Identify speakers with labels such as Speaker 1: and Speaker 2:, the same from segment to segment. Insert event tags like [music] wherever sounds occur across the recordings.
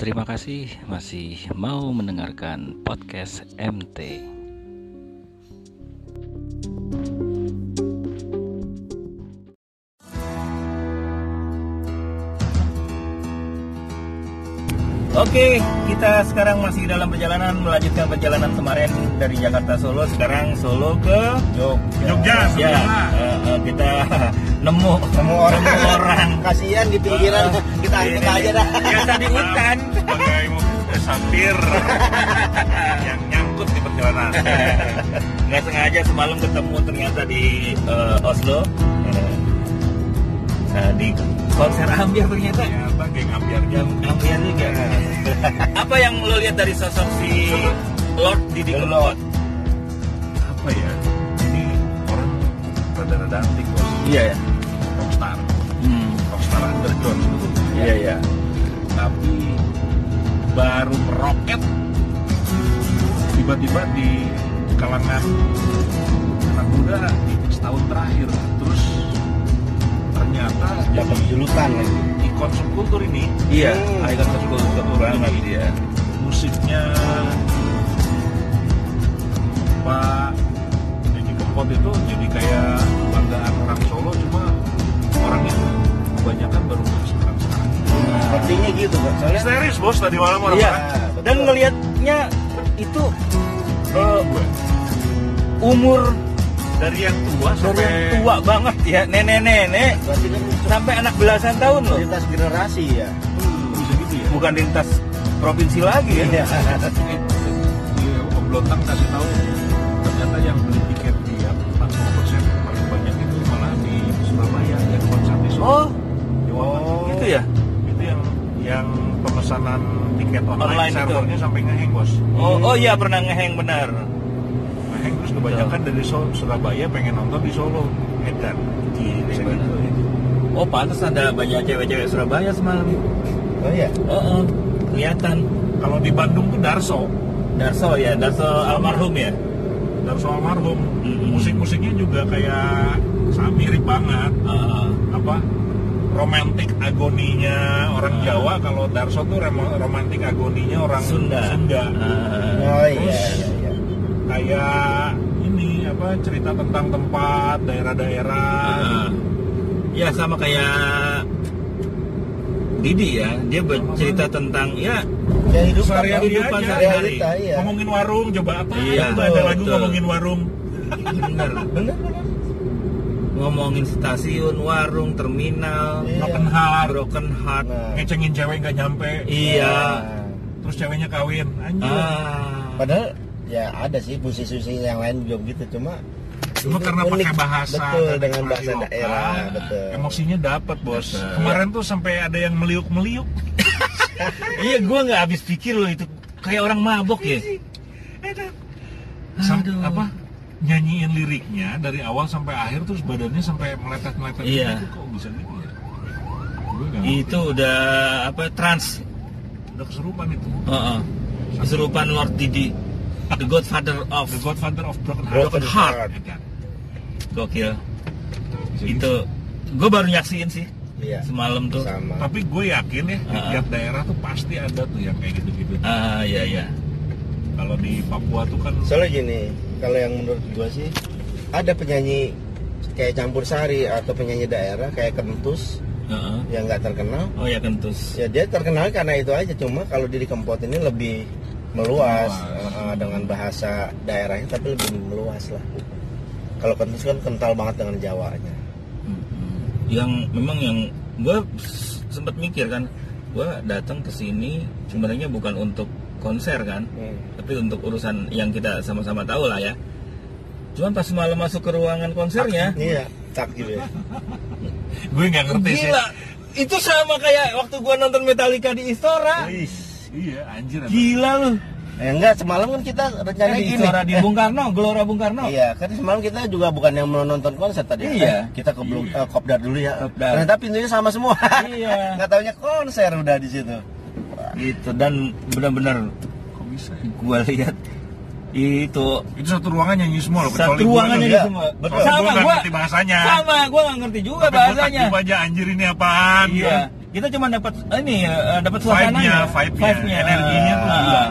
Speaker 1: Terima kasih masih mau mendengarkan podcast MT.
Speaker 2: Oke, kita sekarang masih dalam perjalanan melanjutkan perjalanan kemarin dari Jakarta Solo sekarang Solo ke Jogja.
Speaker 3: Jogja,
Speaker 2: Ya,
Speaker 3: Solo.
Speaker 2: eh, eh, kita [laughs] nemu
Speaker 4: Nemu orang.
Speaker 2: orang.
Speaker 4: kasihan di pinggiran
Speaker 2: Ah.
Speaker 4: kita angkut
Speaker 2: Ini-
Speaker 4: aja dah
Speaker 2: Biasa di hutan.
Speaker 3: sebagai mobil
Speaker 2: [laughs]
Speaker 3: sampir yang nyangkut di perjalanan
Speaker 2: Nggak sengaja semalam ketemu ternyata di eh, Oslo. Eh, eh, di konser ambiar ternyata.
Speaker 3: ya bagi ngambiar
Speaker 2: Yang ambiar juga.
Speaker 3: [laughs]
Speaker 2: Apa yang lo lihat dari sosok si Lord Didi
Speaker 4: The
Speaker 2: Kempot?
Speaker 4: Lord.
Speaker 3: apa ya ini orang rada-rada antik bos
Speaker 2: Iya ya.
Speaker 3: rockstar rockstar underground dulu
Speaker 2: Iya ya.
Speaker 3: tapi baru meroket tiba-tiba di kalangan anak muda setahun terakhir terus ternyata
Speaker 4: dapat
Speaker 3: jadi
Speaker 4: julukan lagi
Speaker 3: ikon subkultur ini
Speaker 2: Iya,
Speaker 4: Hmm.
Speaker 2: Icon Circle betul banget dia.
Speaker 3: musiknya Pak Deddy Kempot itu jadi kayak banggaan orang Solo cuma orangnya kebanyakan baru muncul sekarang-sekarang
Speaker 4: sepertinya gitu kan soalnya
Speaker 3: Histeris bos tadi malam orang
Speaker 2: Iya.
Speaker 4: Ah, betul.
Speaker 2: Dan ngelihatnya itu eh,
Speaker 3: gue
Speaker 2: umur
Speaker 3: dari yang tua
Speaker 2: dari
Speaker 3: sampai
Speaker 2: yang tua banget ya, nenek-nenek
Speaker 4: berarti kan
Speaker 2: sampai anak belasan tahun loh.
Speaker 4: lintas generasi ya
Speaker 3: Hmm, bisa gitu ya
Speaker 2: Bukan lintas provinsi lagi ya.
Speaker 4: Iya.
Speaker 3: Ini, iya, Om Blontang kasih tahu ternyata yang beli tiket dia 40% paling banyak itu malah di Surabaya yang konser di Solo
Speaker 2: Oh,
Speaker 3: Di Wawan.
Speaker 2: gitu ya.
Speaker 3: Oh. itu yang yang pemesanan tiket online,
Speaker 2: Online itu.
Speaker 3: servernya sampai ngeheng bos
Speaker 2: Oh, oh iya pernah ngeheng benar.
Speaker 3: ngeheng terus kebanyakan dari Sol- Surabaya pengen nonton di Solo Medan Bisa gitu.
Speaker 2: Oh, pantas ada banyak cewek-cewek Surabaya semalam.
Speaker 4: oh ya
Speaker 2: Oh, oh, kelihatan.
Speaker 3: kalau di Bandung tuh Darso
Speaker 2: Darso ya, Darso almarhum ya.
Speaker 3: Darso almarhum
Speaker 2: Mm-mm.
Speaker 3: musik-musiknya juga kayak sama mirip banget
Speaker 2: Ah,
Speaker 3: apa romantik agoninya orang
Speaker 2: Nah.
Speaker 3: Jawa kalau Darso tuh remo- romantik agoninya orang
Speaker 2: Sunda.
Speaker 3: Sunda.
Speaker 2: ah.
Speaker 4: oh iya iya iya
Speaker 3: kayak ini apa cerita tentang tempat daerah-daerah
Speaker 2: Ah. ya sama kayak Didi ya, dia bercerita tentang ya
Speaker 4: ya hidup
Speaker 3: Sehari-hari
Speaker 4: apa?
Speaker 2: aja.
Speaker 4: sehari-hari iya
Speaker 3: ngomongin warung coba apa
Speaker 2: Iya,
Speaker 3: coba ada
Speaker 4: betul,
Speaker 3: lagu
Speaker 2: betul.
Speaker 3: ngomongin warung
Speaker 2: bener
Speaker 4: bener bener
Speaker 2: ngomongin stasiun, warung, terminal,
Speaker 4: Iya.
Speaker 3: broken heart
Speaker 2: broken heart.
Speaker 4: Nah.
Speaker 3: ngecengin cewek nggak nyampe
Speaker 2: Iya.
Speaker 3: terus ceweknya kawin anjir
Speaker 4: Nah,
Speaker 2: Ah.
Speaker 4: padahal ya ada sih musisi-musisi yang lain belum gitu cuma
Speaker 3: cuma
Speaker 4: ini
Speaker 3: karena pakai
Speaker 4: unik.
Speaker 3: bahasa
Speaker 4: betul
Speaker 3: dan
Speaker 4: dengan
Speaker 3: ekspresi
Speaker 4: bahasa
Speaker 3: lokal,
Speaker 4: daerah betul
Speaker 3: emosinya dapat bos
Speaker 2: Betul.
Speaker 3: kemarin tuh sampai ada yang meliuk meliuk
Speaker 2: Iya, gua nggak habis pikir loh itu kayak orang mabok ya.
Speaker 3: Sam-
Speaker 2: Aduh.
Speaker 3: apa nyanyiin liriknya dari awal sampai akhir terus badannya sampai meletet meletet
Speaker 2: Iya.
Speaker 3: gitu kok bisa gitu ya gue nggak ngerti.
Speaker 2: Itu udah apa trans,
Speaker 3: udah keserupan itu
Speaker 2: Heeh. kesurupan Lord Didi, the Godfather of
Speaker 3: The Godfather of Broken Heart
Speaker 2: Broken Heart.
Speaker 3: Ya kan?
Speaker 2: Gokil.
Speaker 3: Bisa gitu.
Speaker 2: Itu gue baru nyaksiin sih
Speaker 4: iya
Speaker 2: semalam tuh.
Speaker 4: sama
Speaker 3: tapi gue yakin ya di
Speaker 2: Ah.
Speaker 3: tiap daerah tuh pasti ada tuh yang kayak gitu-gitu
Speaker 2: Ah ya ya.
Speaker 3: kalau di Papua tuh kan
Speaker 4: soalnya gini kalau yang menurut gua sih ada penyanyi kayak campur sari atau penyanyi daerah kayak kentus
Speaker 2: Heeh.
Speaker 4: yang nggak terkenal
Speaker 2: Oh ya kentus.
Speaker 4: ya dia terkenal karena itu aja cuma kalau diri kempot ini lebih meluas eh, dengan bahasa daerahnya tapi lebih meluas lah kalau kentus kan kental banget dengan jawanya
Speaker 2: Yang memang yang gue sempat mikir kan, gue datang ke sini sebenarnya bukan untuk konser kan, tapi untuk urusan yang kita sama-sama tahu lah ya. Cuman pas malam masuk ke ruangan konsernya,
Speaker 4: iya tak gitu ya
Speaker 3: gue nggak ngerti sih
Speaker 2: gila. Itu sama kayak waktu gue nonton Metallica di Istora.
Speaker 3: Wih, iya anjir emang.
Speaker 2: Gila lu.
Speaker 4: Eh, enggak semalam kan kita
Speaker 2: Kan
Speaker 4: rencana
Speaker 2: di
Speaker 4: gini
Speaker 2: Istora di Bung Karno, Gelora Bung Karno.
Speaker 4: Iya, kan semalam kita juga bukan yang mau nonton konser tadi.
Speaker 2: Iya.
Speaker 4: Eh, kita ke Blok- eh, Kopdar dulu ya.
Speaker 2: Kopdar.
Speaker 4: Ternyata pintunya sama semua.
Speaker 2: Iya.
Speaker 4: [laughs] Nggak taunya konser udah di situ.
Speaker 2: Gitu dan benar-benar
Speaker 3: kok bisa ya?
Speaker 2: gue lihat itu
Speaker 3: itu satu ruangan nyanyi semua loh
Speaker 2: satu
Speaker 3: kecuali gue
Speaker 2: ruangannya di
Speaker 3: tuh.
Speaker 4: iya.
Speaker 2: semua
Speaker 3: Betul.
Speaker 2: sama
Speaker 3: Gua nggak
Speaker 2: gua
Speaker 3: ngerti bahasanya.
Speaker 2: sama Ya. gua nggak ngerti juga
Speaker 3: Tapi gua
Speaker 2: bahasanya
Speaker 3: takjub aja anjir ini apaan
Speaker 2: iya
Speaker 3: Kan?
Speaker 2: kita cuma dapat ini eh, dapat suasananya,
Speaker 3: Vibe-nya, vibe-nya,
Speaker 2: vibe-nya, eh,
Speaker 3: energinya tuh
Speaker 2: eh,
Speaker 3: gila.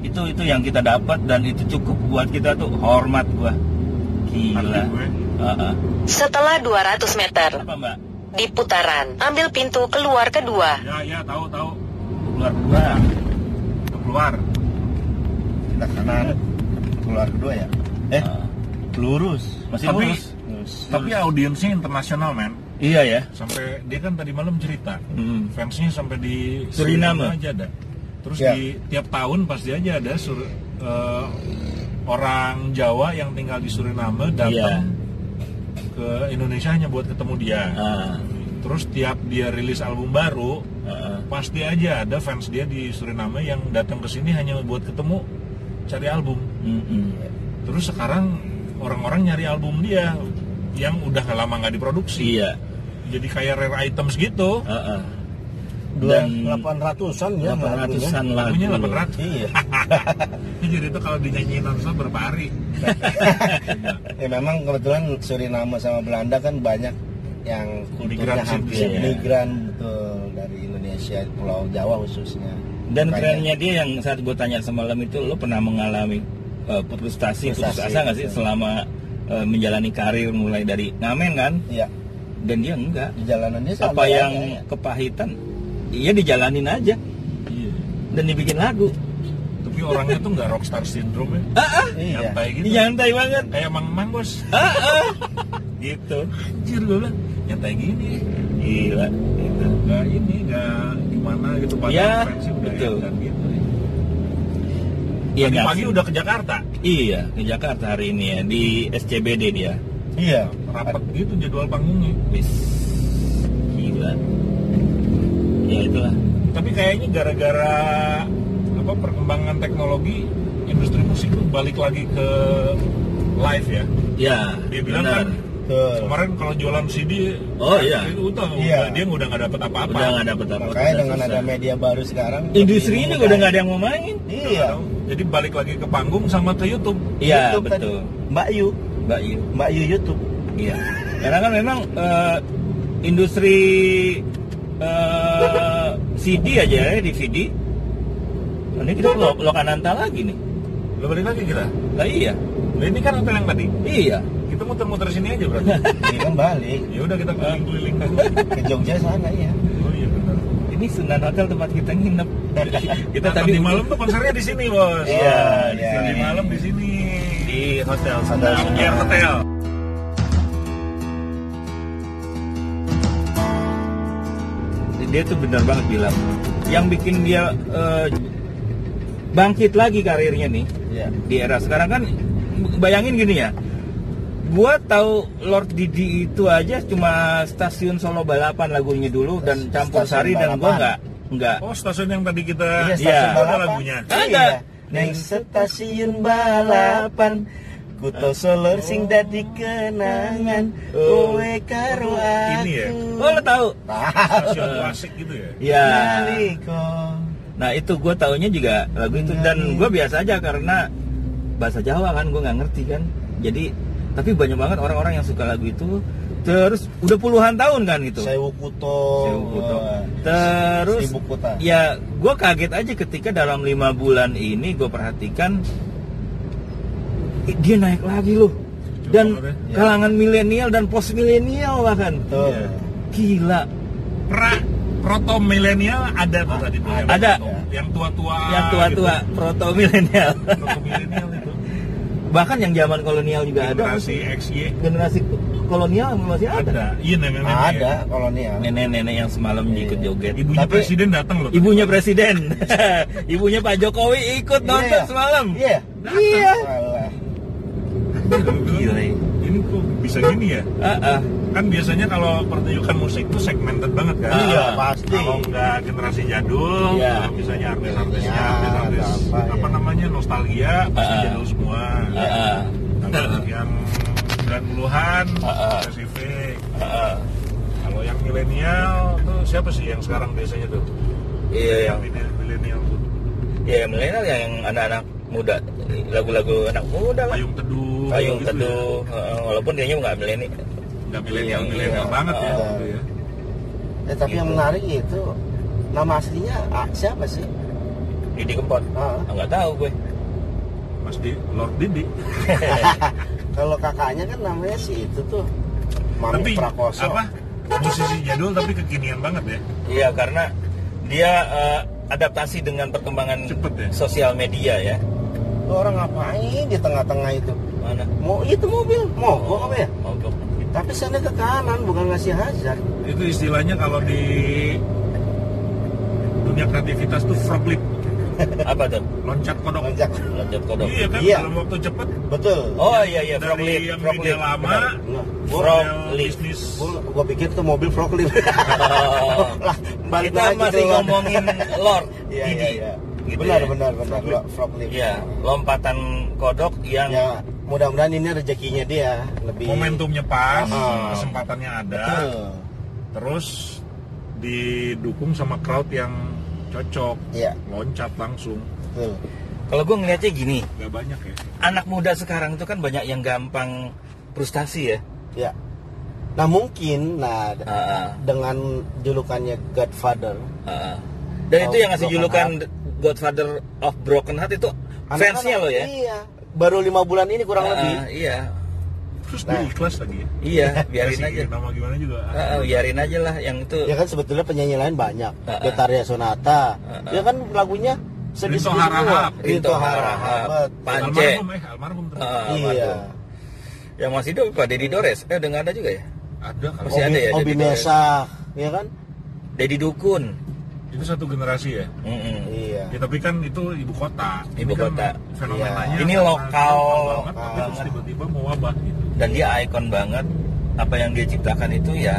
Speaker 2: itu itu yang kita dapat dan itu cukup buat kita tuh hormat gua. Gila.
Speaker 3: Arti gue.
Speaker 2: Eh, eh.
Speaker 5: Setelah 200 meter,
Speaker 2: Apa Mbak?
Speaker 5: di putaran, ambil pintu keluar kedua.
Speaker 3: ya ya tahu tahu
Speaker 2: Keluar kedua.
Speaker 3: keluar
Speaker 4: kita kanan keluar kedua ya eh
Speaker 2: Eh,
Speaker 4: lurus
Speaker 2: masih
Speaker 3: Tapi-
Speaker 2: lurus.
Speaker 4: lurus
Speaker 3: tapi audiensnya internasional men
Speaker 2: Iya ya.
Speaker 3: sampai dia kan tadi malam cerita
Speaker 2: Mm.
Speaker 3: fansnya sampai di
Speaker 2: Suriname.
Speaker 3: aja ada terus
Speaker 4: Ya.
Speaker 3: di tiap tahun pasti aja ada sur- eh, orang Jawa yang tinggal di Suriname
Speaker 2: Iya.
Speaker 3: datang ke Indonesia hanya buat ketemu dia
Speaker 2: Ah,
Speaker 3: terus tiap dia rilis album baru
Speaker 2: ah, ah.
Speaker 3: pasti aja ada fans dia di Suriname yang datang ke sini hanya buat ketemu cari album
Speaker 2: Mm-mm.
Speaker 3: terus sekarang orang-orang nyari album dia yang udah lama nggak diproduksi
Speaker 2: Iya.
Speaker 3: jadi kayak rare items gitu
Speaker 2: ah, ah.
Speaker 4: dua
Speaker 2: Dan-
Speaker 4: delapan ratusan
Speaker 2: Iya,
Speaker 4: ya
Speaker 2: 800-an lagu.
Speaker 3: lagunya 800
Speaker 4: iya
Speaker 3: jadi itu kalau dinyanyiin langsung berapa hari
Speaker 4: ya memang kebetulan Suriname sama Belanda kan banyak yang kulturnya
Speaker 3: Migran sih,
Speaker 4: hampir
Speaker 2: iya.
Speaker 4: migran betul dari Indonesia Pulau Jawa khususnya
Speaker 2: Dan
Speaker 4: Makanya
Speaker 2: kerennya dia yang saat gue tanya semalam itu lo pernah mengalami eh, putus frustasi, putus
Speaker 4: Frustasi,
Speaker 2: asa nggak sih
Speaker 4: betul.
Speaker 2: selama eh, menjalani karir mulai dari ngamen kan?
Speaker 4: iya
Speaker 2: Dan dia enggak.
Speaker 4: di ya? jalanan dia
Speaker 2: Apa
Speaker 4: santai
Speaker 2: yang
Speaker 4: aja.
Speaker 2: kepahitan? Iya dijalanin aja Iya. dan dibikin lagu.
Speaker 3: tapi orangnya tuh nggak rockstar syndrome ya
Speaker 4: iya
Speaker 3: nyantai gitu
Speaker 2: Nyantai banget.
Speaker 3: kayak mang mang bos [laughs]
Speaker 2: Gitu.
Speaker 3: anjir gue bilang nyantai gini
Speaker 2: Gila.
Speaker 3: gitu. nggak ini nggak gimana gitu padahal
Speaker 2: Ya,
Speaker 3: fansnya udah
Speaker 2: betul.
Speaker 3: edan gitu
Speaker 2: Iya
Speaker 3: Tadi
Speaker 2: nggak
Speaker 3: pagi
Speaker 2: sih?
Speaker 3: udah ke Jakarta
Speaker 2: Iya ke Jakarta hari ini ya di SCBD dia.
Speaker 4: iya
Speaker 3: rapat gitu jadwal panggungnya
Speaker 2: Wis. Gila. Ya itulah.
Speaker 3: tapi kayaknya gara-gara apa perkembangan teknologi industri musik tuh balik lagi ke live ya
Speaker 2: Ya.
Speaker 3: dia bilang
Speaker 2: benar.
Speaker 3: kan
Speaker 4: betul
Speaker 3: kemarin kalau jualan CD
Speaker 2: Oh, iya.
Speaker 3: itu udah
Speaker 4: Iya.
Speaker 3: udah, dia udah nggak dapat apa-apa Iya.
Speaker 2: udah nggak dapet apa-apa.
Speaker 4: makanya
Speaker 2: udah
Speaker 4: dengan
Speaker 2: susah.
Speaker 4: ada media baru sekarang
Speaker 2: industri ini
Speaker 4: lebih
Speaker 2: udah
Speaker 4: mudah.
Speaker 2: nggak ada yang mau main.
Speaker 4: iya
Speaker 3: jadi balik lagi ke panggung sama ke YouTube
Speaker 2: Iya
Speaker 4: YouTube tadi.
Speaker 2: betul.
Speaker 4: Mbak Yu
Speaker 2: Mbak Yu.
Speaker 4: Mbak Yu YouTube
Speaker 2: Iya. Karena kan memang eh, industri eh, [laughs] CD aja ya DVD. Ini kita lo, lo kananta lagi nih.
Speaker 3: lo balik lagi kita
Speaker 2: Lah iya.
Speaker 3: nah, ini kan hotel yang tadi
Speaker 2: Iya.
Speaker 3: kita muter-muter sini aja
Speaker 2: [laughs]
Speaker 3: berarti
Speaker 4: ini kan balik
Speaker 3: ya udah kita keliling-keliling dulu
Speaker 4: ke Jogja sana ya
Speaker 3: oh iya benar
Speaker 2: Ini Sunan Hotel tempat kita nginep.
Speaker 4: [laughs]
Speaker 2: kita
Speaker 3: Nah,
Speaker 2: tadi
Speaker 3: tadi malam tuh konsernya di sini bos Nah,
Speaker 4: Iya,
Speaker 3: di
Speaker 4: iya.
Speaker 3: sini malam di sini
Speaker 2: di hotel
Speaker 4: Hotel Sunan.
Speaker 3: Ampere Hotel
Speaker 2: dia tuh bener banget bilang yang bikin dia eh, bangkit lagi karirnya nih
Speaker 4: iya
Speaker 2: di era sekarang kan bayangin gini ya gua tahu Lord Didi itu aja cuma stasiun Solo Balapan lagunya dulu dan campur
Speaker 4: Stasiun
Speaker 2: sari dan gua
Speaker 4: Balapan.
Speaker 2: nggak nggak
Speaker 3: Oh stasiun yang tadi kita
Speaker 2: Iya.
Speaker 4: Iya, stasiun
Speaker 3: ada
Speaker 4: balapan. Iya.
Speaker 3: lagunya.
Speaker 2: Ada.
Speaker 4: Neng stasiun balapan. Kuto solor sing dadi kenangan
Speaker 2: Oh.
Speaker 4: kowe karo aku.
Speaker 3: Ini ya?
Speaker 2: oh lo tahu
Speaker 3: Stasiun klasik gitu ya.
Speaker 2: ya
Speaker 4: Naliko.
Speaker 2: nah itu gua taunya juga lagu itu
Speaker 4: Iya.
Speaker 2: dan gua biasa aja karena bahasa Jawa kan gua nggak ngerti kan jadi tapi banyak banget orang-orang yang suka lagu itu terus udah puluhan tahun kan itu
Speaker 4: Sewu kuto.
Speaker 3: Iya.
Speaker 2: Sewu Kuto.
Speaker 3: Oh,
Speaker 4: eh,
Speaker 2: gitu. Terus
Speaker 4: Seribu kuta.
Speaker 2: ya gue kaget aja ketika dalam lima bulan ini gue perhatikan eh, dia naik lagi loh dan
Speaker 3: banget
Speaker 4: ya.
Speaker 2: kalangan milenial dan post milenial bahkan
Speaker 4: Betul.
Speaker 3: Iya.
Speaker 2: gila
Speaker 3: Pra proto milenial ada tuh tadi tuh. yang
Speaker 2: Ada.
Speaker 3: proto. Yang tua-tua.
Speaker 2: yang tua-tua proto milenial [laughs]
Speaker 3: gitu. Proto milenial itu.
Speaker 2: bahkan yang zaman kolonial juga ada
Speaker 3: Generasi XY
Speaker 2: generasi kolonial masih ada
Speaker 3: ada. Iya nenek nenek.
Speaker 4: Ada kolonial.
Speaker 2: nenek-nenek yang semalam ikut joget
Speaker 3: Iya. Ibunya
Speaker 4: Tapi-
Speaker 3: presiden datang loh.
Speaker 2: ibunya presiden [laughs] ibunya Pak Jokowi ikut
Speaker 4: Iya.
Speaker 2: nonton semalam
Speaker 4: Iya.
Speaker 2: iya
Speaker 4: Walah.
Speaker 3: Gila.
Speaker 2: Gila.
Speaker 3: Ini kok bisa gini ya?
Speaker 2: Ah, ah.
Speaker 3: Kan biasanya kalau pertunjukan musik itu segmented banget kan?
Speaker 4: Iya, pasti.
Speaker 3: Kalau nggak generasi jadul,
Speaker 2: Iya.
Speaker 3: kalau misalnya artis-artisnya,
Speaker 4: Ya,
Speaker 3: artis-artis
Speaker 4: ada apa,
Speaker 3: apa,
Speaker 4: ya.
Speaker 3: namanya nostalgia, pasti
Speaker 2: Ah.
Speaker 3: jadul semua.
Speaker 4: Iya.
Speaker 2: Ah, ah.
Speaker 3: Kalau yang 90-an
Speaker 2: Ah, ah.
Speaker 3: spesifik.
Speaker 2: Ah, ah.
Speaker 3: Kalau yang milenial tuh siapa sih yang sekarang biasanya tuh?
Speaker 2: Iya, yang
Speaker 3: Yang milenial- milenial tuh.
Speaker 2: ya yang milenial yang anak-anak muda, lagu-lagu anak muda lah.
Speaker 3: Payung teduh.
Speaker 2: Payung
Speaker 3: gitu
Speaker 4: ya.
Speaker 2: teduh, heeh, walaupun kayaknya nggak milenial.
Speaker 3: Ya. Nggak milenial
Speaker 2: Iya,
Speaker 3: milenial
Speaker 2: iya.
Speaker 3: banget ya.
Speaker 4: Ah.
Speaker 3: gitu ya.
Speaker 4: Ya, tapi yang menarik itu nama aslinya ah, siapa sih?
Speaker 2: Didi Kempot
Speaker 4: Ah,
Speaker 2: Ah, nggak tahu gue
Speaker 3: Mas di Lord Didi.
Speaker 4: kalau kakaknya kan namanya si itu tuh Mamuk
Speaker 3: tapi
Speaker 4: Prakoso.
Speaker 3: apa? Musisi jadul tapi kekinian banget ya.
Speaker 2: iya karena dia eh, adaptasi dengan perkembangan
Speaker 3: Cepet ya?
Speaker 2: sosial media ya
Speaker 4: Tuh orang ngapain di tengah-tengah itu?
Speaker 2: mana
Speaker 4: Mau itu mobil, mogok apa ya?
Speaker 2: mogok
Speaker 4: Tapi sana ke kanan bukan ngasih hazard.
Speaker 3: Itu istilahnya kalau di dunia kreativitas tuh froglit,
Speaker 2: apa tuh
Speaker 3: loncat kodok.
Speaker 4: Lonjak.
Speaker 2: loncat kodok
Speaker 3: Iya kan
Speaker 4: Iya.
Speaker 3: dalam waktu cepet
Speaker 4: Betul.
Speaker 2: oh iya iya frog
Speaker 3: dari
Speaker 2: leap
Speaker 3: yang
Speaker 2: frog
Speaker 3: media
Speaker 2: leap
Speaker 3: lama
Speaker 2: Benar.
Speaker 4: Nah,
Speaker 2: Frog
Speaker 3: model
Speaker 2: leap.
Speaker 3: ya, bisnis
Speaker 4: gua, gua pikir tuh mobil Froglip.
Speaker 2: Oh.
Speaker 4: [laughs] lah, balik
Speaker 2: kita
Speaker 4: lagi
Speaker 2: masih
Speaker 4: ke-
Speaker 2: ngomongin lord
Speaker 4: [laughs] [laughs] Iya,
Speaker 2: Didi
Speaker 4: iya, iya.
Speaker 2: Gitu
Speaker 4: benar,
Speaker 2: ya.
Speaker 4: benar, benar, benar. Froglip.
Speaker 2: Iya, lompatan kodok yang
Speaker 4: Ya, mudah-mudahan ini rezekinya dia lebih
Speaker 3: momentumnya pas
Speaker 4: Ah.
Speaker 3: kesempatannya ada
Speaker 4: Betul.
Speaker 3: terus didukung sama crowd yang cocok
Speaker 4: Iya,
Speaker 3: loncat langsung
Speaker 4: betul.
Speaker 2: kalau gue ngelihatnya gini
Speaker 3: nggak banyak ya
Speaker 2: anak muda sekarang itu kan banyak yang gampang frustasi ya
Speaker 4: Ya. Nah, mungkin nah d-
Speaker 2: Heeh,
Speaker 4: dengan julukannya Godfather,
Speaker 2: heeh. dan
Speaker 4: Of
Speaker 2: itu yang ngasih
Speaker 4: Broken
Speaker 2: julukan
Speaker 4: Heart.
Speaker 2: Godfather of Broken Heart itu fansnya
Speaker 4: anak-anak-
Speaker 2: lo ya
Speaker 4: Iya. Baru lima bulan ini kurang
Speaker 2: Heeh,
Speaker 4: lebih.
Speaker 2: iya
Speaker 3: terus
Speaker 4: Nah.
Speaker 3: dia ikhlas lagi ya
Speaker 4: [laughs]
Speaker 2: iya biarin
Speaker 3: Kasih
Speaker 2: aja
Speaker 3: nama gimana juga
Speaker 2: Heeh, biarin aja lah yang itu Ah,
Speaker 4: Ya kan sebetulnya penyanyi lain banyak.
Speaker 2: Heeh.
Speaker 4: Getaria Sonata.
Speaker 2: Heeh.
Speaker 4: Ya kan lagunya
Speaker 3: Rinto
Speaker 4: sedih-sedih
Speaker 3: Harahap.
Speaker 4: semua.
Speaker 2: Ah, Rinto Harahap.
Speaker 4: betul.
Speaker 2: Pance.
Speaker 3: almarhum eh almarhum ternyata.
Speaker 2: Heeh,
Speaker 4: Iya.
Speaker 2: waduh. yang masih hidup Pak Deddy Dores eh udah nggak ada juga ya
Speaker 3: ada kan? Oh, kalau
Speaker 2: Masih ada ya, Hmm.
Speaker 4: Obi
Speaker 2: jadi
Speaker 4: Mesa, ya kan?
Speaker 2: Deddy Dukun
Speaker 3: itu satu generasi ya
Speaker 2: Mm-mm.
Speaker 4: Iya.
Speaker 3: Ya, tapi kan itu ibu kota.
Speaker 2: Ibu
Speaker 3: Ini kan
Speaker 2: kota.
Speaker 3: Fenomenanya.
Speaker 2: Iya. Ini
Speaker 3: lokal
Speaker 2: lokal
Speaker 3: banget, tapi terus
Speaker 4: banget.
Speaker 3: tiba-tiba mewabah gitu.
Speaker 2: dan dia ikon banget apa yang dia ciptakan itu ya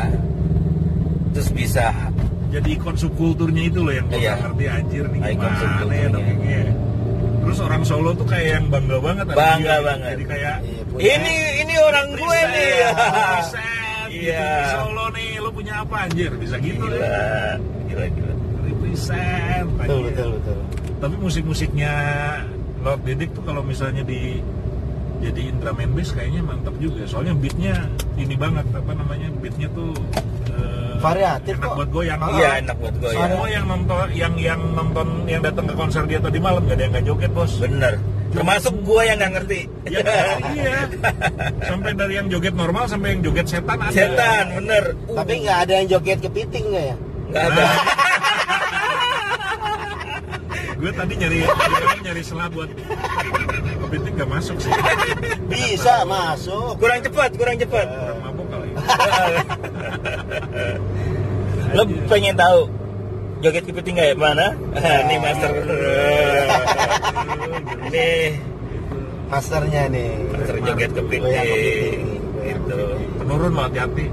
Speaker 2: terus bisa
Speaker 3: Jadi ikon subkulturnya itu loh yang gue
Speaker 2: Iya.
Speaker 3: nggak ngerti anjir nih
Speaker 2: Ikon
Speaker 3: gimana
Speaker 2: subkulturnya.
Speaker 3: ya dongengnya. ya. Terus orang Solo tuh kayak yang bangga banget ada
Speaker 2: Bangga
Speaker 3: dia.
Speaker 2: banget.
Speaker 3: Jadi kayak
Speaker 4: Iya, punya.
Speaker 2: ini ini orang gue nih
Speaker 3: Represent,
Speaker 2: Iya.
Speaker 3: gitu. Solo nih, lo punya apa anjir? Bisa gitu
Speaker 2: gila
Speaker 3: ya.
Speaker 2: gila gila
Speaker 3: Represent.
Speaker 4: betul
Speaker 3: anjir.
Speaker 4: betul betul.
Speaker 3: Tapi musik-musiknya Lord Didik tuh kalau misalnya di jadi drumen bass kayaknya mantap juga. Soalnya beatnya ini banget apa namanya beatnya tuh eh,
Speaker 4: Variatif
Speaker 3: enak
Speaker 4: kok.
Speaker 3: buat goyang.
Speaker 2: iya enak buat gue ya
Speaker 3: Semua yang nonton yang yang nonton yang datang ke konser dia tadi malam gak ada yang gak joget bos.
Speaker 2: bener termasuk gue yang nggak ngerti
Speaker 3: Ya, iya. Sampai dari yang joget normal sampai yang joget setan ada.
Speaker 2: setan bener Uh,
Speaker 4: Tapi nggak ada yang joget kepiting nggak ya?
Speaker 2: nggak ada
Speaker 3: Gue tadi nyari nyari selah buat kepiting gak masuk
Speaker 2: [laughs]
Speaker 3: sih.
Speaker 4: Bisa masuk.
Speaker 2: kurang cepat kurang cepat
Speaker 3: Kurang mabuk kali.
Speaker 2: lo pengen tahu joget kepiting nggak ya mana ini master ini
Speaker 4: Masternya nih.
Speaker 2: master joget
Speaker 4: Goyang
Speaker 2: kepiting
Speaker 4: goyang
Speaker 2: gitu
Speaker 3: Penurun lo hati-hati.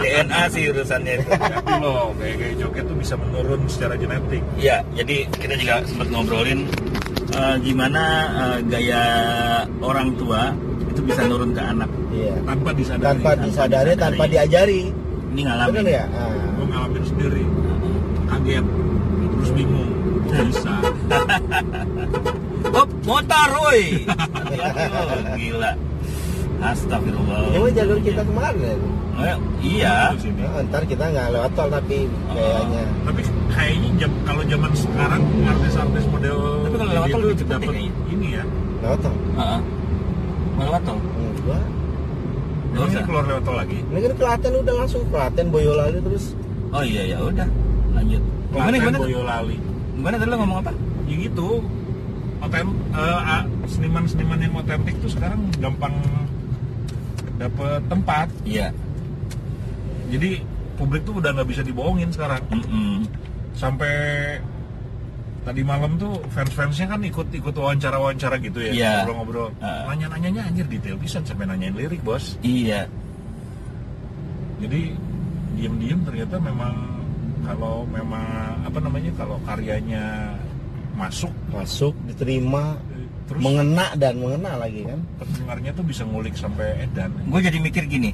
Speaker 2: DNA sih urusannya itu
Speaker 3: Hati lo kayak kayak joget tuh bisa menurun secara genetik.
Speaker 2: Iya, jadi kita juga sempat ngobrolin eh, gimana eh, gaya orang tua itu bisa nurun ke anak.
Speaker 4: Iya.
Speaker 3: tanpa disadari
Speaker 4: Tanpa disadari, tanpa diajari.
Speaker 2: Ini
Speaker 4: Benar
Speaker 2: ngalamin.
Speaker 4: ya? Ah.
Speaker 3: gue ngalamin sendiri kaget terus bingung kok bisa
Speaker 2: Hop, motor, woi. [laughs] Hati-hati lo. Gila. Astagfirullah.
Speaker 4: Ini mah jalur kita kemarin.
Speaker 2: Eh, iya.
Speaker 3: Terus ini.
Speaker 4: Nah, ntar kita nggak lewat tol tapi kayaknya.
Speaker 3: tapi kayaknya jam, kalau zaman sekarang artis-artis model
Speaker 2: Tapi kalau lewat
Speaker 3: gitu
Speaker 2: tol lebih cepet
Speaker 3: dapet
Speaker 2: deh
Speaker 3: ini ya
Speaker 4: Lewat tol?
Speaker 2: Heeh. Mau lewat tol?
Speaker 4: Enggak.
Speaker 2: Nggak
Speaker 3: Emang ini
Speaker 2: usah.
Speaker 3: keluar lewat tol lagi
Speaker 4: Ini kan Klaten udah langsung Klaten Boyolali terus
Speaker 2: Oh iya ya udah. Lanjut. Gimana
Speaker 3: Klaten,
Speaker 2: gimana?
Speaker 3: Boyolali
Speaker 2: Gimana tadi lo ngomong apa?
Speaker 3: ya gitu oten eh, ah, seniman-seniman yang otentik tuh sekarang gampang dapet tempat
Speaker 2: Iya.
Speaker 3: jadi publik tuh udah nggak bisa dibohongin sekarang
Speaker 2: Mm-mm.
Speaker 3: sampai tadi malam tuh fans-fansnya kan ikut-ikut wawancara-wawancara gitu ya
Speaker 2: Iya.
Speaker 3: ngobrol-ngobrol
Speaker 2: Heeh.
Speaker 3: nanya-nanyanya anjir detail pisan sampai nanyain lirik bos
Speaker 2: Iya.
Speaker 3: jadi diem-diem ternyata memang kalau memang apa namanya kalau karyanya masuk
Speaker 4: masuk diterima
Speaker 3: eh, terus
Speaker 4: mengena dan mengena lagi kan.
Speaker 3: pendengarnya tuh bisa ngulik sampai edan
Speaker 2: gue jadi mikir gini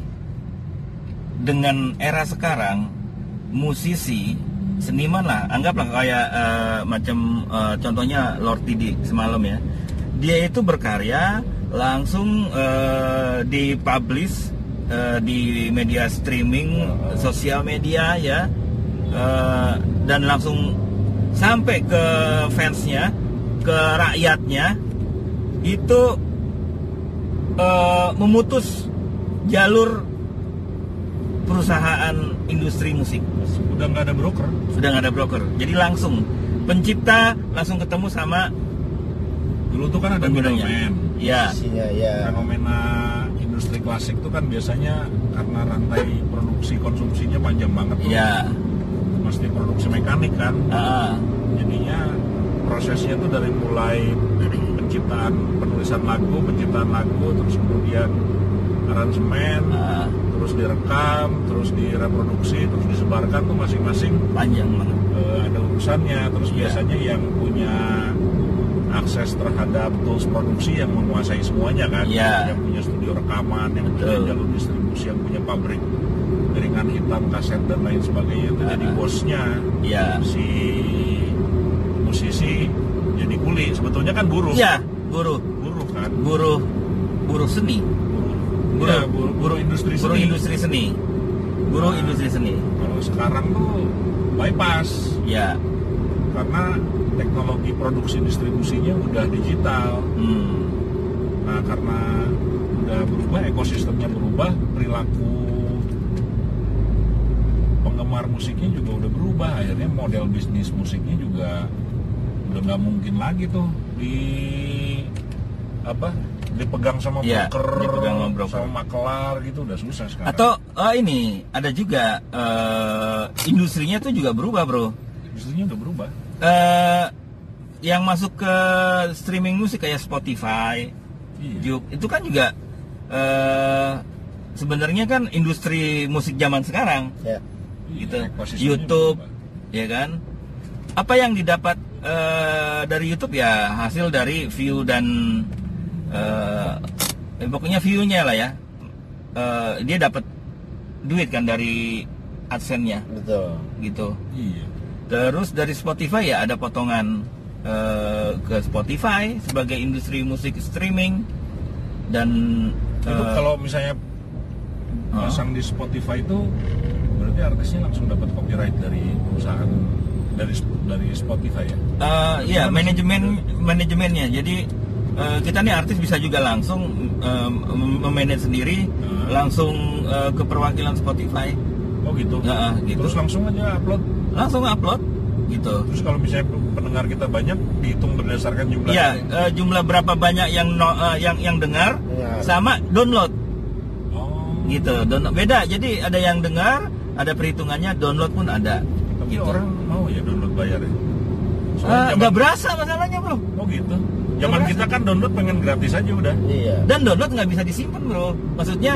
Speaker 2: dengan era sekarang musisi seniman lah anggaplah kayak eh, macam eh, contohnya Lord Didi semalam ya dia itu berkarya langsung eh, dipublish eh, di media streaming, sosial media ya, Eh, dan langsung sampai ke fansnya, ke rakyatnya, itu eh, memutus jalur perusahaan industri musik
Speaker 3: udah nggak ada broker
Speaker 2: sudah nggak ada broker jadi langsung pencipta langsung ketemu sama
Speaker 3: dulu tuh kan ada
Speaker 2: penggunanya
Speaker 3: middleman
Speaker 2: ya
Speaker 4: isinya ya
Speaker 3: fenomena industri klasik tuh kan biasanya karena rantai produksi konsumsinya panjang banget tuh
Speaker 2: ya
Speaker 3: mesti produksi mekanik kan
Speaker 2: ah,
Speaker 3: jadinya prosesnya tuh dari mulai penciptaan penulisan lagu penciptaan lagu terus kemudian aransemen
Speaker 2: ah,
Speaker 3: terus direkam terus direproduksi terus disebarkan tuh masing-masing
Speaker 2: panjang banget
Speaker 3: eh, ada urusannya terus
Speaker 2: Iya.
Speaker 3: biasanya yang punya akses terhadap tools produksi yang menguasai semuanya kan
Speaker 2: Iya.
Speaker 3: yang punya studio rekaman yang
Speaker 2: Betul.
Speaker 3: punya jalur distribusi yang punya pabrik jaringan hitam kaset dan lain sebagainya itu jadi
Speaker 2: Ah.
Speaker 3: bosnya
Speaker 2: ya
Speaker 3: si musisi jadi kuli sebetulnya kan buruh
Speaker 2: ya buruh
Speaker 3: buruh kan
Speaker 2: buruh buruh seni
Speaker 3: buruh
Speaker 2: Buruh.
Speaker 3: Ya, buruh, buruh industri
Speaker 2: buruh
Speaker 3: seni.
Speaker 2: industri seni buruh
Speaker 3: Ah.
Speaker 2: industri seni
Speaker 3: kalau sekarang tuh bypass
Speaker 2: ya
Speaker 3: karena teknologi produksi distribusinya udah digital.
Speaker 2: hmm,
Speaker 3: Nah, karena udah berubah ekosistemnya berubah, perilaku penggemar musiknya juga udah berubah. Akhirnya model bisnis musiknya juga udah nggak mungkin lagi tuh di apa dipegang sama
Speaker 2: Iya,
Speaker 3: broker,
Speaker 2: dipegang sama broker.
Speaker 3: makelar gitu udah susah sekarang.
Speaker 2: atau oh ini ada juga eh, industrinya tuh juga berubah bro
Speaker 3: bisnisnya udah berubah.
Speaker 2: eh yang masuk ke streaming musik kayak Spotify,
Speaker 3: Iya.
Speaker 2: Juk, itu kan juga eh sebenarnya kan industri musik zaman sekarang,
Speaker 4: ya
Speaker 3: Iya,
Speaker 2: gitu.
Speaker 3: ekosistemnya
Speaker 2: YouTube,
Speaker 3: berubah.
Speaker 2: ya kan? Apa yang didapat eh dari YouTube ya hasil dari view dan eh eh, pokoknya view-nya lah ya. Eh dia dapat duit kan dari adsense-nya
Speaker 4: betul
Speaker 2: gitu.
Speaker 3: Iya.
Speaker 2: Terus dari Spotify ya ada potongan eh, ke Spotify sebagai industri musik streaming dan
Speaker 3: itu
Speaker 2: eh,
Speaker 3: kalau misalnya
Speaker 2: Hah?
Speaker 3: pasang di Spotify itu berarti artisnya langsung dapat copyright dari perusahaan dari dari Spotify ya
Speaker 2: eh, ya manajemen manajemennya. Jadi eh, kita nih artis bisa juga langsung eh, mem- memanage sendiri
Speaker 3: Hmm.
Speaker 2: langsung eh, ke perwakilan Spotify
Speaker 3: oh gitu
Speaker 2: Iya, gitu.
Speaker 3: terus langsung aja upload
Speaker 2: langsung upload gitu.
Speaker 3: terus kalau misalnya pendengar kita banyak dihitung berdasarkan jumlah
Speaker 2: Ya eh, jumlah berapa banyak yang no- eh, yang yang dengar
Speaker 3: Iya.
Speaker 4: Dengar.
Speaker 2: sama download
Speaker 3: oh
Speaker 2: gitu. Download beda. Jadi ada yang dengar, ada perhitungannya, download pun ada.
Speaker 3: tapi
Speaker 2: gitu.
Speaker 3: orang mau ya download bayar ya Soalnya
Speaker 2: Ah,
Speaker 3: zaman-
Speaker 2: nggak berasa masalahnya bro
Speaker 3: oh gitu zaman
Speaker 2: berasa.
Speaker 3: kita kan download pengen gratis aja udah
Speaker 4: iya
Speaker 2: dan download nggak bisa disimpan bro maksudnya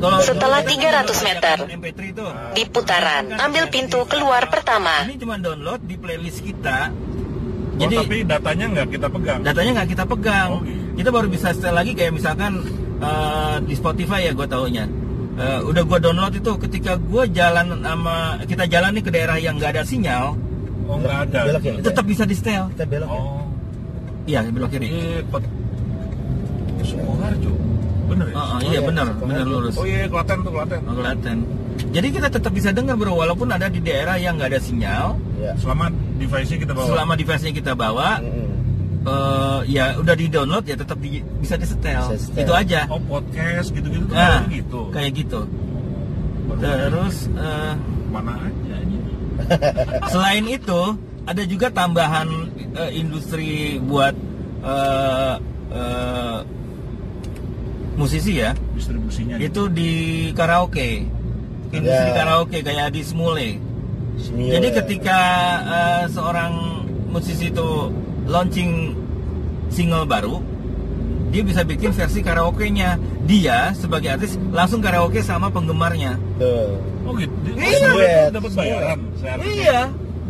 Speaker 2: kalau
Speaker 5: Setelah
Speaker 2: download kan
Speaker 5: 300
Speaker 2: download
Speaker 5: meter.
Speaker 2: ada MP3 tuh.
Speaker 5: Di putaran, ambil pintu keluar pertama.
Speaker 2: Kan gitu. ini cuma download di playlist kita
Speaker 3: oh,
Speaker 2: jadi
Speaker 3: tapi datanya nggak kita pegang
Speaker 2: datanya nggak kita pegang
Speaker 3: Oh, gitu.
Speaker 2: kita baru bisa setel lagi kayak misalkan eh, di Spotify ya gue taunya Eh, udah gue download itu ketika gue jalan sama kita jalan nih ke daerah yang nggak ada sinyal
Speaker 3: oh nggak ada
Speaker 4: belok ya kita
Speaker 2: tetap bisa di setel
Speaker 4: kita belok ya
Speaker 3: oh
Speaker 2: iya belok kiri
Speaker 3: Iya, Pak. Sukoharjo. Bener ya?
Speaker 2: Oh, oh, iya
Speaker 4: iya,
Speaker 2: benar benar lurus
Speaker 3: Oh iya, Klaten tuh Klaten.
Speaker 2: Oh, Klaten. Jadi kita tetap bisa dengar bro, walaupun ada di daerah yang nggak ada sinyal,
Speaker 4: ya
Speaker 3: Selama device-nya kita bawa.
Speaker 2: selama device-nya kita bawa,
Speaker 4: Mm-mm.
Speaker 2: eh, ya udah di download ya tetap di- bisa disetel.
Speaker 4: Bisa setel.
Speaker 2: Itu aja.
Speaker 3: Oh, podcast gitu-gitu tuh
Speaker 2: Nah,
Speaker 3: baru gitu.
Speaker 2: ya. kayak gitu.
Speaker 3: Baru
Speaker 2: Terus eh,
Speaker 3: mana aja ini.
Speaker 2: selain itu ada juga tambahan eh, industri buat eh, eh, musisi ya.
Speaker 3: Distribusinya.
Speaker 2: Itu di karaoke, industri
Speaker 4: Ya. Iya,
Speaker 2: karaoke kayak di Smule.
Speaker 4: Smule.
Speaker 2: Jadi ketika eh, seorang musisi itu launching single baru, dia bisa bikin versi karaoke-nya. Dia sebagai artis langsung karaoke sama penggemarnya.
Speaker 4: tuh
Speaker 3: Oh gitu. Dia-
Speaker 2: Iya.
Speaker 3: Oh, dia
Speaker 4: Duet.
Speaker 3: Dapat bayaran. seharusnya.
Speaker 2: Iya,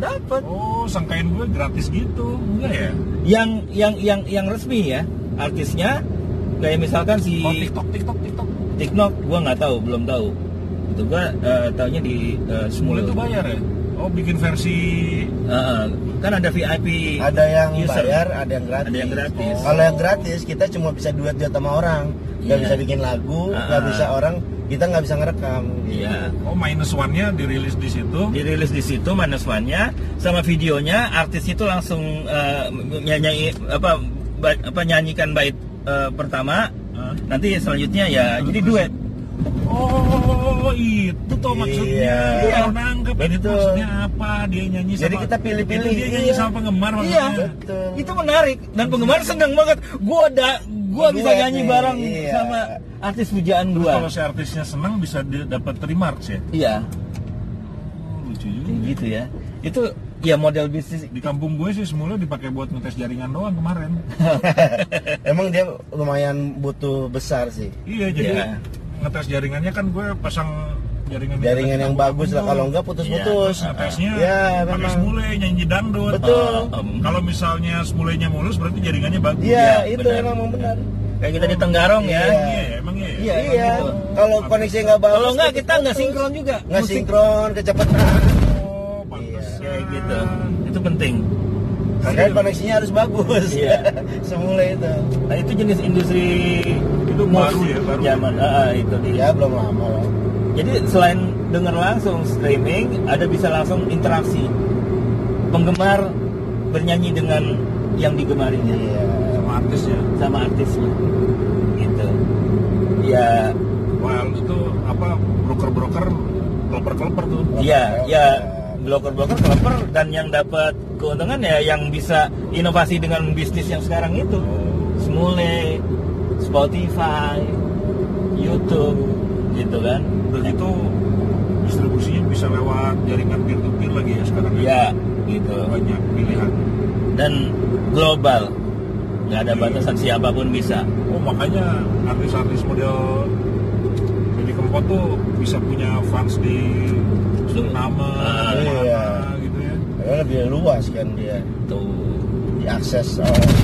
Speaker 2: dapat.
Speaker 3: Oh, sangkain gue gratis gitu. Enggak ya?
Speaker 2: Yang yang yang yang resmi ya, artisnya kayak misalkan si
Speaker 3: Oh, TikTok, TikTok, TikTok.
Speaker 2: TikTok, gua nggak tahu, belum tahu. Itu gua eh, taunya di eh,
Speaker 3: Mulai
Speaker 2: Smule.
Speaker 3: tuh bayar ya? Oh, bikin versi
Speaker 2: Eh, eh, kan ada VIP.
Speaker 4: ada yang
Speaker 2: user.
Speaker 4: bayar ada yang
Speaker 2: Iya,
Speaker 4: gratis
Speaker 2: Ada yang gratis.
Speaker 4: kalau yang gratis kita cuma bisa duet duet sama orang nggak
Speaker 2: Iya.
Speaker 4: bisa bikin lagu nggak
Speaker 2: Ah.
Speaker 4: bisa orang kita nggak bisa ngerekam gitu.
Speaker 2: Iya.
Speaker 3: Oh minus one-nya dirilis di situ.
Speaker 2: dirilis di situ minus one-nya sama videonya artis itu langsung eh, nyanyi apa ba- apa nyanyikan bait eh, pertama
Speaker 3: Hah?
Speaker 2: nanti selanjutnya ya jadi duet
Speaker 3: Oh itu tuh maksudnya.
Speaker 4: Iya.
Speaker 3: Iya. nangkep ini tuh
Speaker 4: Betul.
Speaker 3: maksudnya apa dia nyanyi
Speaker 4: Jadi
Speaker 3: sama-
Speaker 4: kita pilih-pilih,
Speaker 3: Itu dia nyanyi
Speaker 4: iya.
Speaker 3: sama penggemar
Speaker 2: iya
Speaker 3: maksudnya.
Speaker 4: Betul.
Speaker 2: itu menarik dan penggemar seneng banget gua ada gua bisa
Speaker 4: Duet
Speaker 2: nyanyi
Speaker 4: nih,
Speaker 2: bareng
Speaker 4: iya.
Speaker 2: sama artis pujaan gua
Speaker 3: Kalau si artisnya senang bisa dia dapat remarks ya.
Speaker 2: iya
Speaker 3: Oh,
Speaker 2: kayak
Speaker 3: lucu
Speaker 4: Iya.
Speaker 3: juga.
Speaker 2: gitu ya itu ya model bisnis
Speaker 3: Di kampung gue sih semula dipakai buat ngetes jaringan doang kemarin.
Speaker 4: emang dia lumayan butuh besar sih
Speaker 3: Iya jadi
Speaker 2: Iya.
Speaker 3: ngetes jaringannya kan gue pasang jaringan
Speaker 4: jaringan yang bagus lah kalau enggak putus-putus
Speaker 3: Nah, tesnya
Speaker 4: ya
Speaker 3: pakai
Speaker 4: memang
Speaker 3: semule nyanyi dangdut.
Speaker 4: Betul.
Speaker 3: Ah, em, kalau misalnya semulenya mulus berarti jaringannya bagus.
Speaker 4: iya
Speaker 2: Iya,
Speaker 4: itu
Speaker 2: benar.
Speaker 4: emang benar
Speaker 2: kayak kita di Tenggarong ya
Speaker 4: Iya.
Speaker 3: Oh, Iya, emang iya.
Speaker 2: Iya, emang
Speaker 4: iya
Speaker 2: gitu.
Speaker 4: kalau koneksi nggak bagus
Speaker 2: kalau nggak kita nggak
Speaker 4: putus.
Speaker 2: sinkron juga
Speaker 4: nggak
Speaker 2: Musik- Iya,
Speaker 4: sinkron kecepatan
Speaker 3: Oh, pantesan.
Speaker 2: kayak gitu itu penting
Speaker 4: karena koneksinya harus bagus
Speaker 2: Iya.
Speaker 4: [laughs] semula itu
Speaker 2: Nah itu jenis industri
Speaker 3: Itu
Speaker 2: musik
Speaker 3: baru ya, baru.
Speaker 2: zaman ah, ah, itu dia.
Speaker 4: ya belum lama lah
Speaker 2: Jadi selain dengar langsung streaming, ada bisa langsung interaksi. Penggemar bernyanyi dengan yang digemarinya
Speaker 4: iya
Speaker 3: Sama artis ya.
Speaker 2: sama artisnya. Gitu. Ya,
Speaker 3: Wah, itu apa broker-broker keleper-keleper tuh.
Speaker 2: ya, ya bloker-bloker keloper dan yang dapat keuntungan ya yang bisa inovasi dengan bisnis yang sekarang itu. Semule, Spotify, YouTube gitu kan.
Speaker 3: Dan itu distribusinya bisa lewat jaringan peer-to-peer lagi ya sekarang
Speaker 2: Ya, gitu.
Speaker 3: Banyak pilihan.
Speaker 2: dan global nggak ada batasan siapapun bisa
Speaker 3: Oh makanya artis-artis model jadi kempot tuh bisa punya fans di Suriname,
Speaker 2: Ah,
Speaker 3: di mana,
Speaker 4: iya.
Speaker 3: gitu ya.
Speaker 4: karena lebih luas kan dia
Speaker 2: tuh
Speaker 4: diakses oleh eh,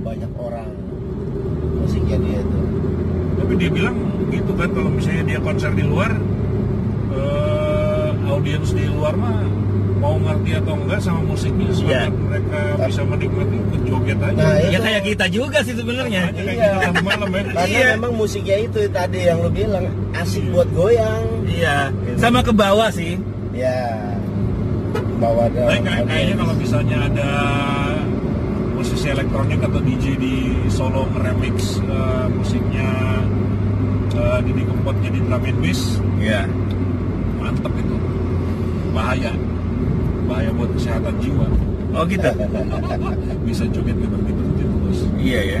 Speaker 4: banyak orang musiknya dia itu
Speaker 3: Tapi dia bilang gitu kan kalau misalnya dia konser di luar, eh, audiens di luar mah mau ngerti atau enggak sama musiknya
Speaker 2: Iya.
Speaker 3: selama mereka bisa menikmati ikut joget aja.
Speaker 4: Nah,
Speaker 2: ya
Speaker 4: Itu-
Speaker 2: kayak kita juga sih sebenarnya
Speaker 3: Makanya kayak
Speaker 4: iya.
Speaker 3: kita lagu malam ya.
Speaker 4: karena
Speaker 2: Iya.
Speaker 4: memang musiknya itu tadi yang lu bilang asik buat goyang
Speaker 2: iya sama ke bawah sih
Speaker 4: ya bawa ada
Speaker 3: Tapi Nah, kayak- kayaknya kalau
Speaker 4: [laughs]
Speaker 3: misalnya ada musisi elektronik atau DJ di Solo remix musiknya eh, Didi Kempot jadi drum and bass,
Speaker 2: iya
Speaker 3: mantep itu. Bahaya, bahaya buat kesehatan jiwa.
Speaker 2: oh gitu
Speaker 3: [laughs] Bisa joget berhenti-berhenti terus.
Speaker 2: iya ya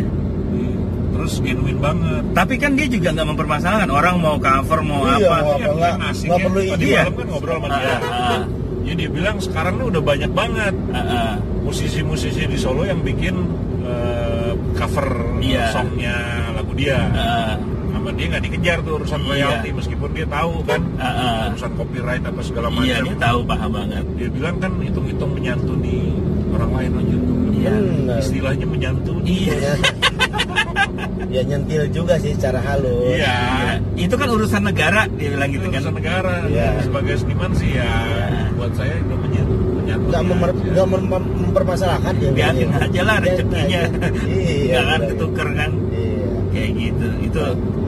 Speaker 3: Iya. Terus genuine banget.
Speaker 2: tapi kan dia juga nggak mempermasalahkan orang mau cover mau
Speaker 4: Iya,
Speaker 2: apa
Speaker 4: mau
Speaker 3: Iya,
Speaker 4: apa nggak
Speaker 3: kan asik
Speaker 4: nggak
Speaker 3: ya.
Speaker 4: perlu
Speaker 3: Tadi
Speaker 4: izin
Speaker 2: iya.
Speaker 3: malam kan ngobrol sama
Speaker 2: Ah,
Speaker 3: dia.
Speaker 2: ah,
Speaker 3: Ya dia bilang sekarang nih udah banyak banget
Speaker 2: ah, ah.
Speaker 3: musisi-musisi di Solo yang bikin eh, cover
Speaker 2: Iya.
Speaker 3: songnya lagu dia.
Speaker 2: Ah,
Speaker 3: Sama dia nggak dikejar tuh urusan
Speaker 2: Iya.
Speaker 3: royalti meskipun dia tahu kan
Speaker 2: ah, ah.
Speaker 3: urusan copyright apa segala macam.
Speaker 2: iya dia tahu paham banget
Speaker 3: Dia bilang kan hitung-hitung menyantuni orang lain on YouTube.
Speaker 2: Iya.
Speaker 4: Bener.
Speaker 3: Istilahnya menyantuni.
Speaker 2: iya
Speaker 4: ya, ya nyentil juga sih secara halus
Speaker 3: Iya.
Speaker 2: itu kan urusan negara dia bilang gitu
Speaker 3: Itu
Speaker 2: kan
Speaker 3: urusan negara.
Speaker 4: Iya.
Speaker 3: Sebagai seniman sih ya buat saya itu menyan- menyantuni.
Speaker 4: nggak memer,
Speaker 3: aja.
Speaker 4: nggak mem- mempermasalahkan dia
Speaker 2: biarin
Speaker 4: kayaknya.
Speaker 2: aja lah
Speaker 4: Biarin
Speaker 2: rezekinya
Speaker 4: aja. iya
Speaker 2: nggak akan
Speaker 4: bener.
Speaker 2: ketuker kan
Speaker 4: iya
Speaker 2: kayak gitu itu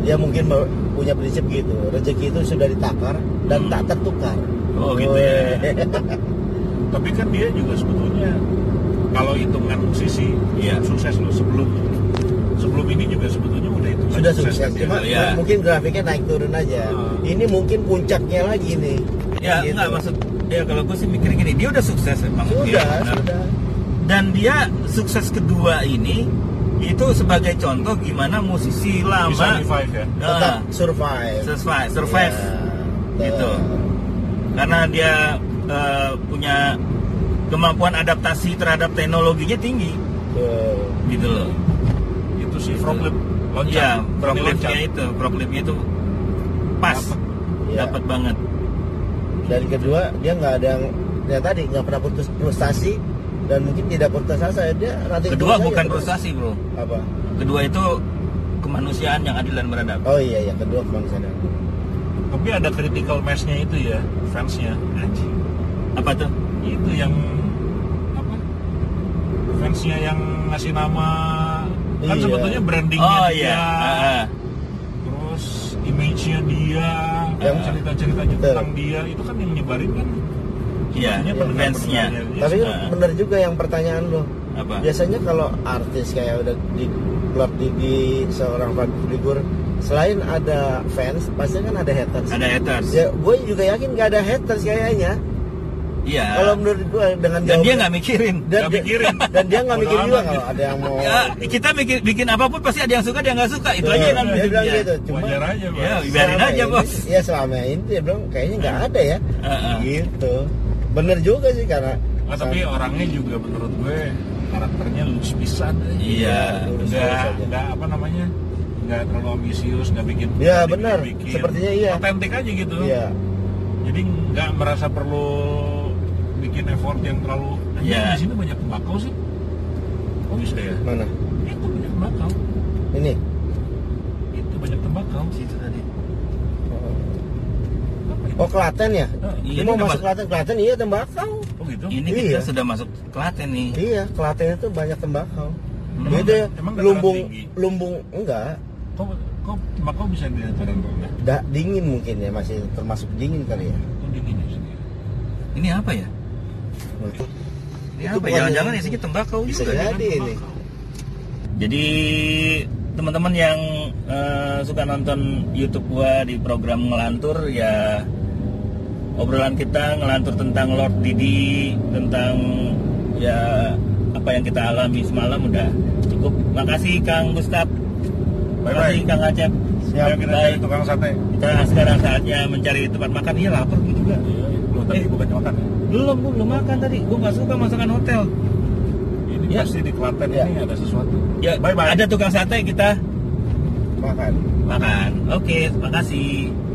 Speaker 4: dia mungkin ber- punya prinsip gitu rezeki itu sudah ditakar dan
Speaker 2: Hmm.
Speaker 4: tak tertukar
Speaker 2: Oh, gitu ya.
Speaker 4: Weh.
Speaker 3: tapi kan dia juga sebetulnya kalau hitungan musisi
Speaker 2: Iya.
Speaker 3: sukses loh sebelum sebelum ini juga sebetulnya udah itu
Speaker 4: [laughs]
Speaker 3: kan,
Speaker 4: sudah sukses
Speaker 3: dia.
Speaker 4: cuma
Speaker 2: Iya.
Speaker 4: mungkin grafiknya naik turun aja
Speaker 3: Hmm.
Speaker 4: ini mungkin puncaknya lagi nih
Speaker 2: ya
Speaker 4: Gitu.
Speaker 2: nggak maksud ya kalau gue sih mikir gini dia udah sukses emang Iya,
Speaker 4: sudah
Speaker 2: benar. Nah.
Speaker 4: sudah
Speaker 2: dan dia sukses kedua ini itu sebagai contoh gimana musisi
Speaker 3: bisa
Speaker 2: lama
Speaker 3: revive ya
Speaker 4: tetap
Speaker 2: Nah,
Speaker 4: survive
Speaker 2: survive survive
Speaker 3: Iya.
Speaker 4: Ya,
Speaker 2: Gitu.
Speaker 4: betul.
Speaker 2: karena dia eh, punya kemampuan adaptasi terhap teknologinya tinggi
Speaker 4: Betul.
Speaker 2: gitu loh
Speaker 3: itu sih problem loncat
Speaker 2: ya
Speaker 3: Berani loncat.
Speaker 2: proklipnya itu proklipnya itu pas
Speaker 4: Iya.
Speaker 2: dapat banget
Speaker 4: dan kedua dia nggak ada yang ya tadi nggak pernah putus frustasi dan mungkin tidak putus asa dia nanti
Speaker 2: kedua
Speaker 4: terus aja
Speaker 2: bukan
Speaker 4: terus.
Speaker 2: frustasi bro
Speaker 4: apa
Speaker 2: kedua itu kemanusiaan yang adil dan beradab
Speaker 4: oh iya ya kedua konsennya
Speaker 3: tapi ada critical mass-nya itu ya fansnya anjing
Speaker 2: apa tuh Oh,
Speaker 3: itu yang apa fansnya yang ngasih nama kan
Speaker 4: Iya. Ah,
Speaker 3: sebetulnya brandingnya
Speaker 2: oh
Speaker 3: dia
Speaker 2: iya Ah, ah.
Speaker 3: terus image-nya dia,
Speaker 4: Yang-
Speaker 3: cerita-ceritanya
Speaker 4: Ya. Betul.
Speaker 3: tentang dia itu kan yang nyebarin kan
Speaker 2: Iya,
Speaker 3: sebenarnya
Speaker 2: fansnya.
Speaker 3: pendengar-pendengarnya dia.
Speaker 4: Tapi
Speaker 2: Nah.
Speaker 4: bener juga yang pertanyaan lo.
Speaker 2: Apa?
Speaker 4: Biasanya kalau artis kayak udah di klub gigi seorang public figure, selain ada fans, pasti kan ada haters.
Speaker 2: Ada haters.
Speaker 4: Ya, gue juga yakin gak ada haters kayaknya.
Speaker 2: Iya.
Speaker 4: Kalau menurut gue dengan
Speaker 2: Dan dia
Speaker 4: jawaban-
Speaker 2: nggak mikirin.
Speaker 4: dan,
Speaker 3: nggak
Speaker 4: dia-
Speaker 3: mikirin.
Speaker 4: [laughs] dan dia nggak
Speaker 3: Bodo
Speaker 4: mikir juga
Speaker 3: amat.
Speaker 4: kalau ada yang mau.
Speaker 2: Ya, kita bikin, bikin apapun pasti ada yang suka, ada yang nggak suka. Itu
Speaker 4: Tuh,
Speaker 2: aja kan
Speaker 4: Nah, dia bilang
Speaker 2: hidupnya.
Speaker 4: gitu. Cuma
Speaker 3: wajar aja Ah, bos.
Speaker 2: Iya, biarin
Speaker 4: selama
Speaker 2: aja,
Speaker 4: ini-
Speaker 2: Bos. Nah.
Speaker 4: Iya selama ini dia bilang kayaknya nggak ada ya.
Speaker 2: Heeh.
Speaker 4: Gitu. Bener juga sih karena.
Speaker 2: Oh,
Speaker 3: Nah, tapi
Speaker 4: sam-
Speaker 3: orangnya juga menurut gue karakternya lulus pisan.
Speaker 2: Iya.
Speaker 4: lurus
Speaker 3: Nggak,
Speaker 4: aja.
Speaker 3: nggak apa namanya? Nggak terlalu ambisius, nggak bikin.
Speaker 4: Iya,
Speaker 3: nggak
Speaker 4: benar.
Speaker 3: bikin-bikin.
Speaker 4: Sepertinya iya.
Speaker 3: Otentik aja gitu.
Speaker 2: oh.
Speaker 4: Iya.
Speaker 3: Jadi nggak merasa perlu bikin effort yang terlalu. "Anjing,
Speaker 2: Iya. gitu
Speaker 3: Di sini banyak tembakau sih. Oh bisa ya?
Speaker 4: Mana?
Speaker 3: Itu banyak tembakau.
Speaker 4: Ini.
Speaker 3: Itu banyak tembakau.
Speaker 2: Itu tadi.
Speaker 3: Apa itu?
Speaker 4: Oh Klaten ya?
Speaker 3: Hah?
Speaker 2: Iya,
Speaker 4: Dia mau
Speaker 2: ini
Speaker 4: masuk
Speaker 2: tempat-
Speaker 4: Klaten, Klaten iya tembakau.
Speaker 3: Oh gitu.
Speaker 2: Ini kita
Speaker 4: Iya.
Speaker 2: sudah masuk Klaten nih. Hmm.
Speaker 4: Iya, Klaten itu banyak tembakau.
Speaker 3: Emang-
Speaker 4: Jadi
Speaker 3: emang dataran
Speaker 4: lumbung,
Speaker 3: tinggi?
Speaker 4: lumbung enggak,
Speaker 3: Kok kok tembakau bisa di dataran rendah?
Speaker 4: da, dingin mungkin ya masih termasuk dingin kali ya.
Speaker 3: Kok dingin ya sini?
Speaker 2: Iya. Ini apa ya? Ini
Speaker 4: Itu
Speaker 2: apa? ya?
Speaker 4: bukan
Speaker 2: Jangan-jangan
Speaker 4: yang-
Speaker 2: isinya tembakau
Speaker 4: Bisa
Speaker 2: juga. kan?
Speaker 4: jadi ini.
Speaker 2: Jadi teman-teman yang eh, suka nonton YouTube gua di program ngelantur ya obrolan kita ngelantur tentang Lord Didi tentang ya apa yang kita alami semalam udah cukup. Makasih Kang Gustaf. Makasih Kang Acep.
Speaker 3: Siap, kita
Speaker 2: Baik.
Speaker 3: cari tukang sate.
Speaker 2: Kita sekarang saatnya mencari tempat makan. Iya lapar gua juga. Eh,
Speaker 3: Loh, iya. tadi bukan makan ya?
Speaker 2: Belum, gua belum makan tadi. Gua nggak suka masakan hotel.
Speaker 3: Ini
Speaker 2: Ya.
Speaker 3: pasti di Klaten
Speaker 4: Ya.
Speaker 3: ini ada sesuatu.
Speaker 2: Ya,
Speaker 3: bye bye.
Speaker 2: Ada tukang sate kita
Speaker 4: Makan.
Speaker 2: makan. Oke, makasih.